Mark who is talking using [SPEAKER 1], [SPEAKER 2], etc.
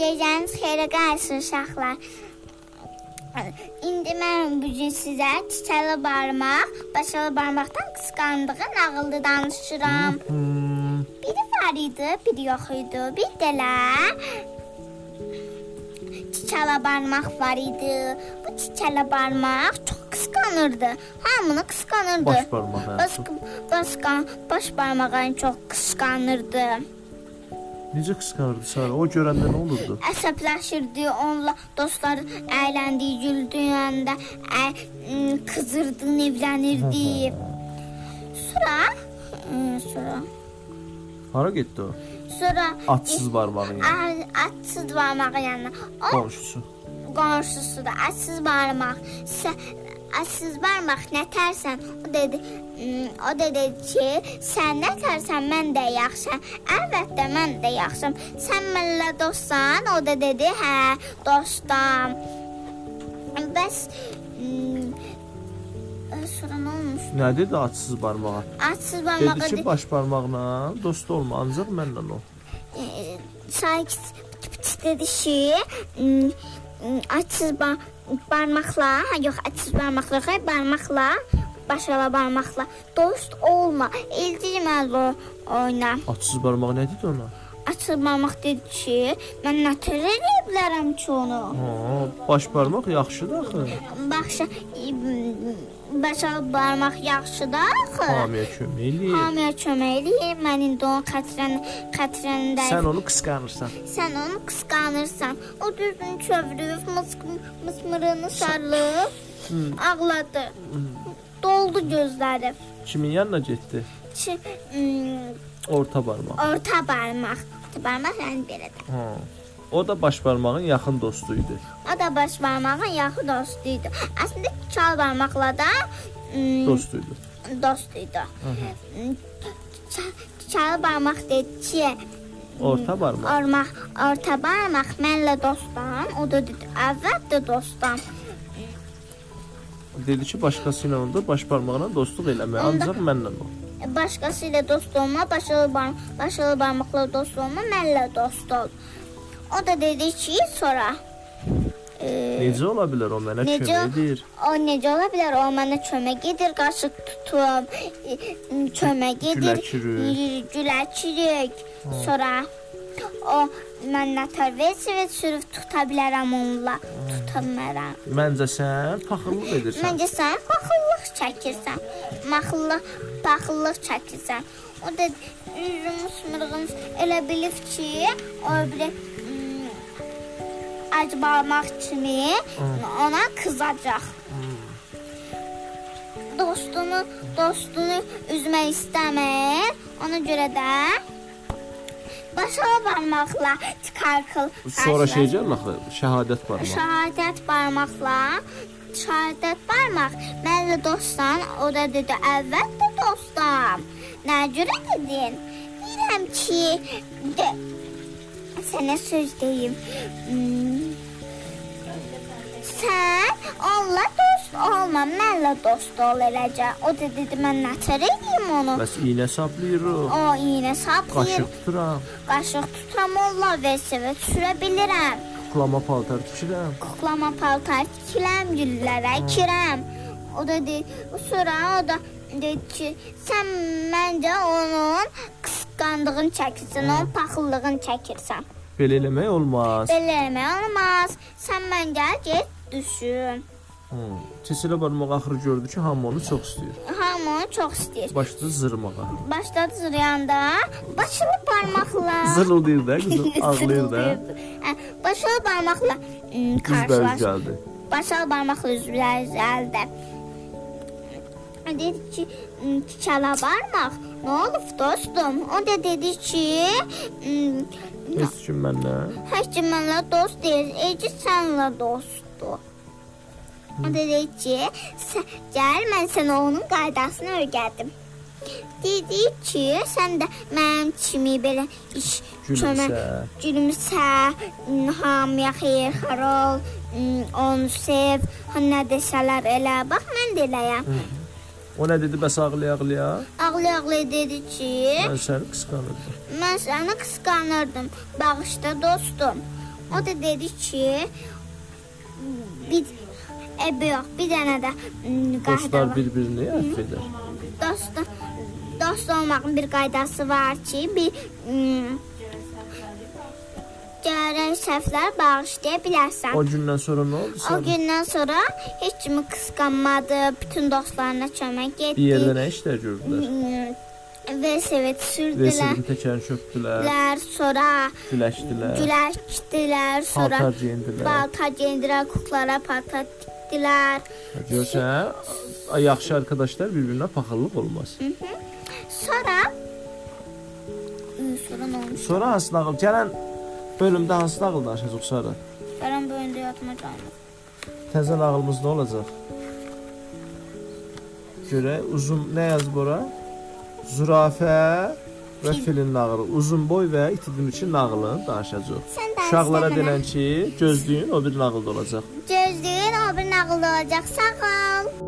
[SPEAKER 1] gecəniz xeyrə qalsın uşaqlar. İndi mən bu gün sizə çiçəkli barmaq, başalı barmaqdan qısqandığı nağıldı danışıram.
[SPEAKER 2] Hmm,
[SPEAKER 1] Biri var idi, biri yox idi. Bir dələ çiçəkli barmaq var idi. Bu çiçəkli barmaq çox qısqanırdı. Hamını qısqanırdı.
[SPEAKER 2] Baş barmağı, hə.
[SPEAKER 1] Baş, baş, baş barmağı ən çox qısqanırdı.
[SPEAKER 2] Necə qısqanırdı Sara? O görəndə nə olurdu?
[SPEAKER 1] əsəbləşirdi, onunla dostlar əyləndiyi, güldüyəndə ə, m, qızırdı, evlənirdi. Sonra m, sonra
[SPEAKER 2] Hara getdi o?
[SPEAKER 1] sonra
[SPEAKER 2] Atsız barmağı yəni.
[SPEAKER 1] ə, atsız barmağı yanına. O
[SPEAKER 2] Qonşusu.
[SPEAKER 1] qonşusu da atsız barmaq. Sə, atsız barmaq nətərsən? O dedi, "M, o dedi ki, sən nətərsən, mən də yaxşıyam. Əlbəttə mən də yaxşıyam. Sən mənlə dostsan?" O da dedi, "Hə, dostam." Bəs m, ə, sonra nə olmuş?
[SPEAKER 2] Nə dedi atsız barmağa?
[SPEAKER 1] Atsız barmağa
[SPEAKER 2] Dedi ki, baş barmaqla dost olma, ancaq mənlə ol.
[SPEAKER 1] Sakit dedi ki, m, m, açsız Hmm, ba barmaqla, ha yox, açsız barmaqla, xey barmaqla, başala barmaqla dost olma. İldirməli oyna.
[SPEAKER 2] Atsız barmaq nə dedi ona?
[SPEAKER 1] Açsız barmaq dedi ki, mən nətər eləyə bilərəm ki onu?
[SPEAKER 2] Ha, baş barmaq yaxşıdır axı.
[SPEAKER 1] Baxşa başala barmaq yaxşıdır axı.
[SPEAKER 2] Hamiyə kömək eləyir.
[SPEAKER 1] Hamiyə kömək eləyir. Mən indi onun xətrən xətrəndəyəm.
[SPEAKER 2] Sən onu qısqanırsan.
[SPEAKER 1] Sən onu qısqanırsan. O düzünü çövrüb, mısq mısmırını sarılıb ağladı. Doldu gözləri.
[SPEAKER 2] Kimin yanına getdi?
[SPEAKER 1] Çi, m,
[SPEAKER 2] Orta barmaq.
[SPEAKER 1] orta barmaq. Orta barmaq yəni belədir.
[SPEAKER 2] Ha. O da baş barmağın yaxın dostu idi.
[SPEAKER 1] O da baş barmağın yaxın dostu idi. Əslində çal barmaqla da m,
[SPEAKER 2] Dost idi.
[SPEAKER 1] dost idi. M, ç- Çal barmaq dedi ki,
[SPEAKER 2] Orta barmaq.
[SPEAKER 1] Ormaq, orta barmaq mənlə dostam. O da dedi, əvvəldə dostam.
[SPEAKER 2] Dedi ki, başqası ilə onda baş barmaqla dostluq eləmə, ancaq mənlə ol.
[SPEAKER 1] başqası ilə dost olma, başalı barm başalı barmaqla dost olma, mənlə dost ol. O da dedi ki, sonra e,
[SPEAKER 2] Necə ola bilər o mənə
[SPEAKER 1] Necə?
[SPEAKER 2] kömək edir?
[SPEAKER 1] o necə ola bilər? O mənə çömək edir, qaşıq tutum, e, çömək edir,
[SPEAKER 2] Güləçirik.
[SPEAKER 1] gü- güləçirik. Sonra o mən nətər vəsivət sürüb tuta bilərəm onunla, tutamaram.
[SPEAKER 2] Məncə sən paxıllıq edirsən.
[SPEAKER 1] Məncə sən paxıllıq çəkirsən. Maxıllıq, paxıllıq çəkirsən. O da üzümüz mırğımız elə bilib ki, o biri mm, ac barmaq kimi ona qızacaq. Dostunu, dostunu üzmək istəmir. Ona görə də başa barmaqla çıxarqıl.
[SPEAKER 2] Sonra şey şeycən axı şahadət barmaq.
[SPEAKER 1] Şəhadət barmaqla şəhadət barmaq. Mən də dostsan, o da dedi, əvvəldə dostam. Nə görə dedin? Deyirəm ki, de, sənə söz deyim. Hmm. Sən onunla dost olma, mənlə dost ol eləcə. O da dedi, mən nətər eləyim onu?
[SPEAKER 2] Bəs iynə saplayırıq,
[SPEAKER 1] O iynə saplayır,
[SPEAKER 2] qaşıq tuturam,
[SPEAKER 1] qaşıq tutam onunla versivə sürə bilirəm.
[SPEAKER 2] kuklama paltar tikirəm.
[SPEAKER 1] kuklama paltar tikiləm, güllərə kirəm. O da dedi, sonra o da dedi ki, sən məncə onun qısqandığını çəkirsən, onun paxıllığını çəkirsən.
[SPEAKER 2] Belə eləmək olmaz.
[SPEAKER 1] Belə eləmək olmaz. Sən məncə get düşün.
[SPEAKER 2] Hmm. Çeçilə barmaq axırı gördü ki, hamı onu çox istəyir.
[SPEAKER 1] Hamı onu çox istəyir.
[SPEAKER 2] Başladı zırmağa.
[SPEAKER 1] Ah. Başladı zırıyanda, başını barmaqla.
[SPEAKER 2] Zırıldayır da qızım, ağlayır da.
[SPEAKER 1] Zırıldayırdı. Hə, Başını Hmm, barmaqla ım,
[SPEAKER 2] Qızlar
[SPEAKER 1] qarşılaşdı.
[SPEAKER 2] gəldi.
[SPEAKER 1] Başal barmaqla üzvlər üzərdə. Dedi ki, "M, çala barmaq, nə olub dostum? O da dedi ki, "M,
[SPEAKER 2] Heç kim mənlə.
[SPEAKER 1] heç kim mənlə dost deyil, Eci sənlə dostdur. O da dedi ki, "Sə- gəl mən sənə onun qaydasını öyrədim. Dedi ki, sən də mənim kimi belə iş
[SPEAKER 2] Gülümsə.
[SPEAKER 1] gülümsə, m, hamıya xeyir xar ol, m, onu sev, ha, nə desələr elə. Bax mən də eləyəm.
[SPEAKER 2] O nə dedi bəs ağlaya-ağlaya?
[SPEAKER 1] Ağlı ağlı dedi ki,
[SPEAKER 2] Mən səni qısqanırdım.
[SPEAKER 1] mən səni qısqanırdım. Bağışda dostum. O da dedi ki, bir e, yox, bir dənə də m, qayda
[SPEAKER 2] Dostlar
[SPEAKER 1] var.
[SPEAKER 2] bir-birini əff edər.
[SPEAKER 1] Dost, dost olmağın bir qaydası var ki, bir hmm, m, Gərək səhvlər bağışlaya bilərsən.
[SPEAKER 2] O gündən sonra nə oldu?
[SPEAKER 1] O
[SPEAKER 2] Sən
[SPEAKER 1] gündən sonra heç kimi qısqanmadı, bütün dostlarına kömək etdi.
[SPEAKER 2] bir yerdə nə işlər gördülər?
[SPEAKER 1] Hmm, Ve sevet sürdülər.
[SPEAKER 2] Vesirin təkərini çöpdülər,
[SPEAKER 1] Sonra
[SPEAKER 2] güləşdilər,
[SPEAKER 1] güləşdilər, sonra
[SPEAKER 2] paltar geyindilər.
[SPEAKER 1] balta geyindilər, kuklara palta tikdilər.
[SPEAKER 2] Görsən, a- yaxşı arkadaşlar bir-birinə paxıllıq olmaz.
[SPEAKER 1] Sonra Hmm, sonra nə olmuş?
[SPEAKER 2] Sonra hansı nağıl? Gələn bölümdə hansı nağıl danışacağıq Sara?
[SPEAKER 1] Bəram bu öndə yatıma canım.
[SPEAKER 2] Təzə nağılımız nə olacaq? Görək, uzun nə yazıb ora? Zürafə və filin nağılı. Uzun boy və itidin üçün nağılını danışacağıq.
[SPEAKER 1] Sən də
[SPEAKER 2] Uşaqlara denən ki, gözlüyün o bir nağıl da olacaq.
[SPEAKER 1] gözlüyün o bir nağıl olacaq. Sağ ol.